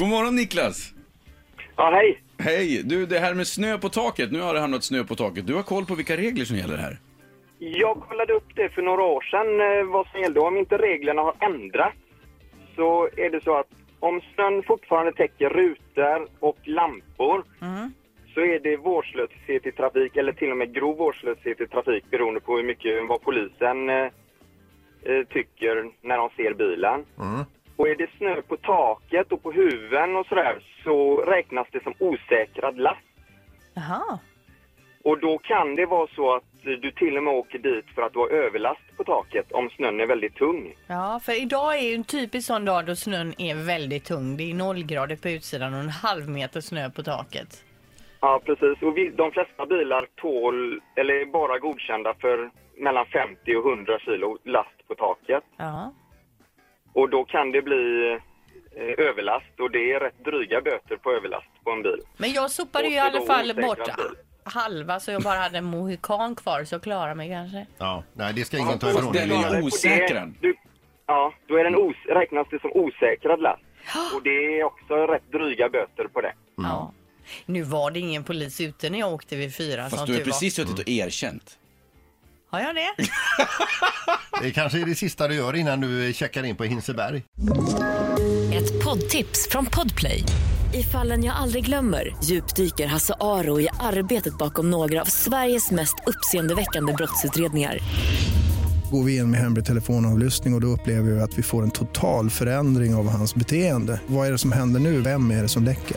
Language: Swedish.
God morgon Niklas! Ja, hej. Hej! Du, det här med snö på taket. Nu har det hamnat snö på taket. Du har koll på vilka regler som gäller här? Jag kollade upp det för några år sedan, eh, vad som gällde. Om inte reglerna har ändrats så är det så att om snön fortfarande täcker rutor och lampor så är det vårdslöshet i trafik, eller till och med grov vårdslöshet i trafik beroende på hur mycket vad polisen eh, eh, tycker när de ser bilen. Och är det snö på taket och på huven och sådär så räknas det som osäkrad last. Jaha. Och då kan det vara så att du till och med åker dit för att du har överlast på taket om snön är väldigt tung. Ja, för idag är ju en typisk sån dag då snön är väldigt tung. Det är nollgrader på utsidan och en halv meter snö på taket. Ja, precis. Och vi, de flesta bilar tål, eller är bara godkända för mellan 50 och 100 kilo last på taket. Ja. Och då kan det bli eh, överlast och det är rätt dryga böter på överlast på en bil. Men jag sopade ju i Och så alla då fall osäkrad bort bil. halva så jag bara hade en mohikan kvar så jag klarar mig Mm. kanske. Ja, nej det ska ingen ta fast ifrån den dig. är ju Och det- Lea. osäkrad. Du, ja, då är den os, räknas det som osäkrad last. Och det är också rätt dryga böter på det. Ja. Nu var det ingen polis ute när jag åkte vid fyra Fast som du har tur Mm. precis suttit och erkänt. var. Har jag det? Det kanske är det sista du gör innan du checkar in på Hinseberg. Ett poddtips från Podplay. I fallen jag aldrig glömmer djupdyker Hasse Aro i arbetet bakom några av Sveriges mest uppseendeväckande brottsutredningar. Går vi in med hemlig telefonavlyssning och, och då upplever vi att vi får en total förändring av hans beteende. Vad är det som händer nu? Vem är det som läcker?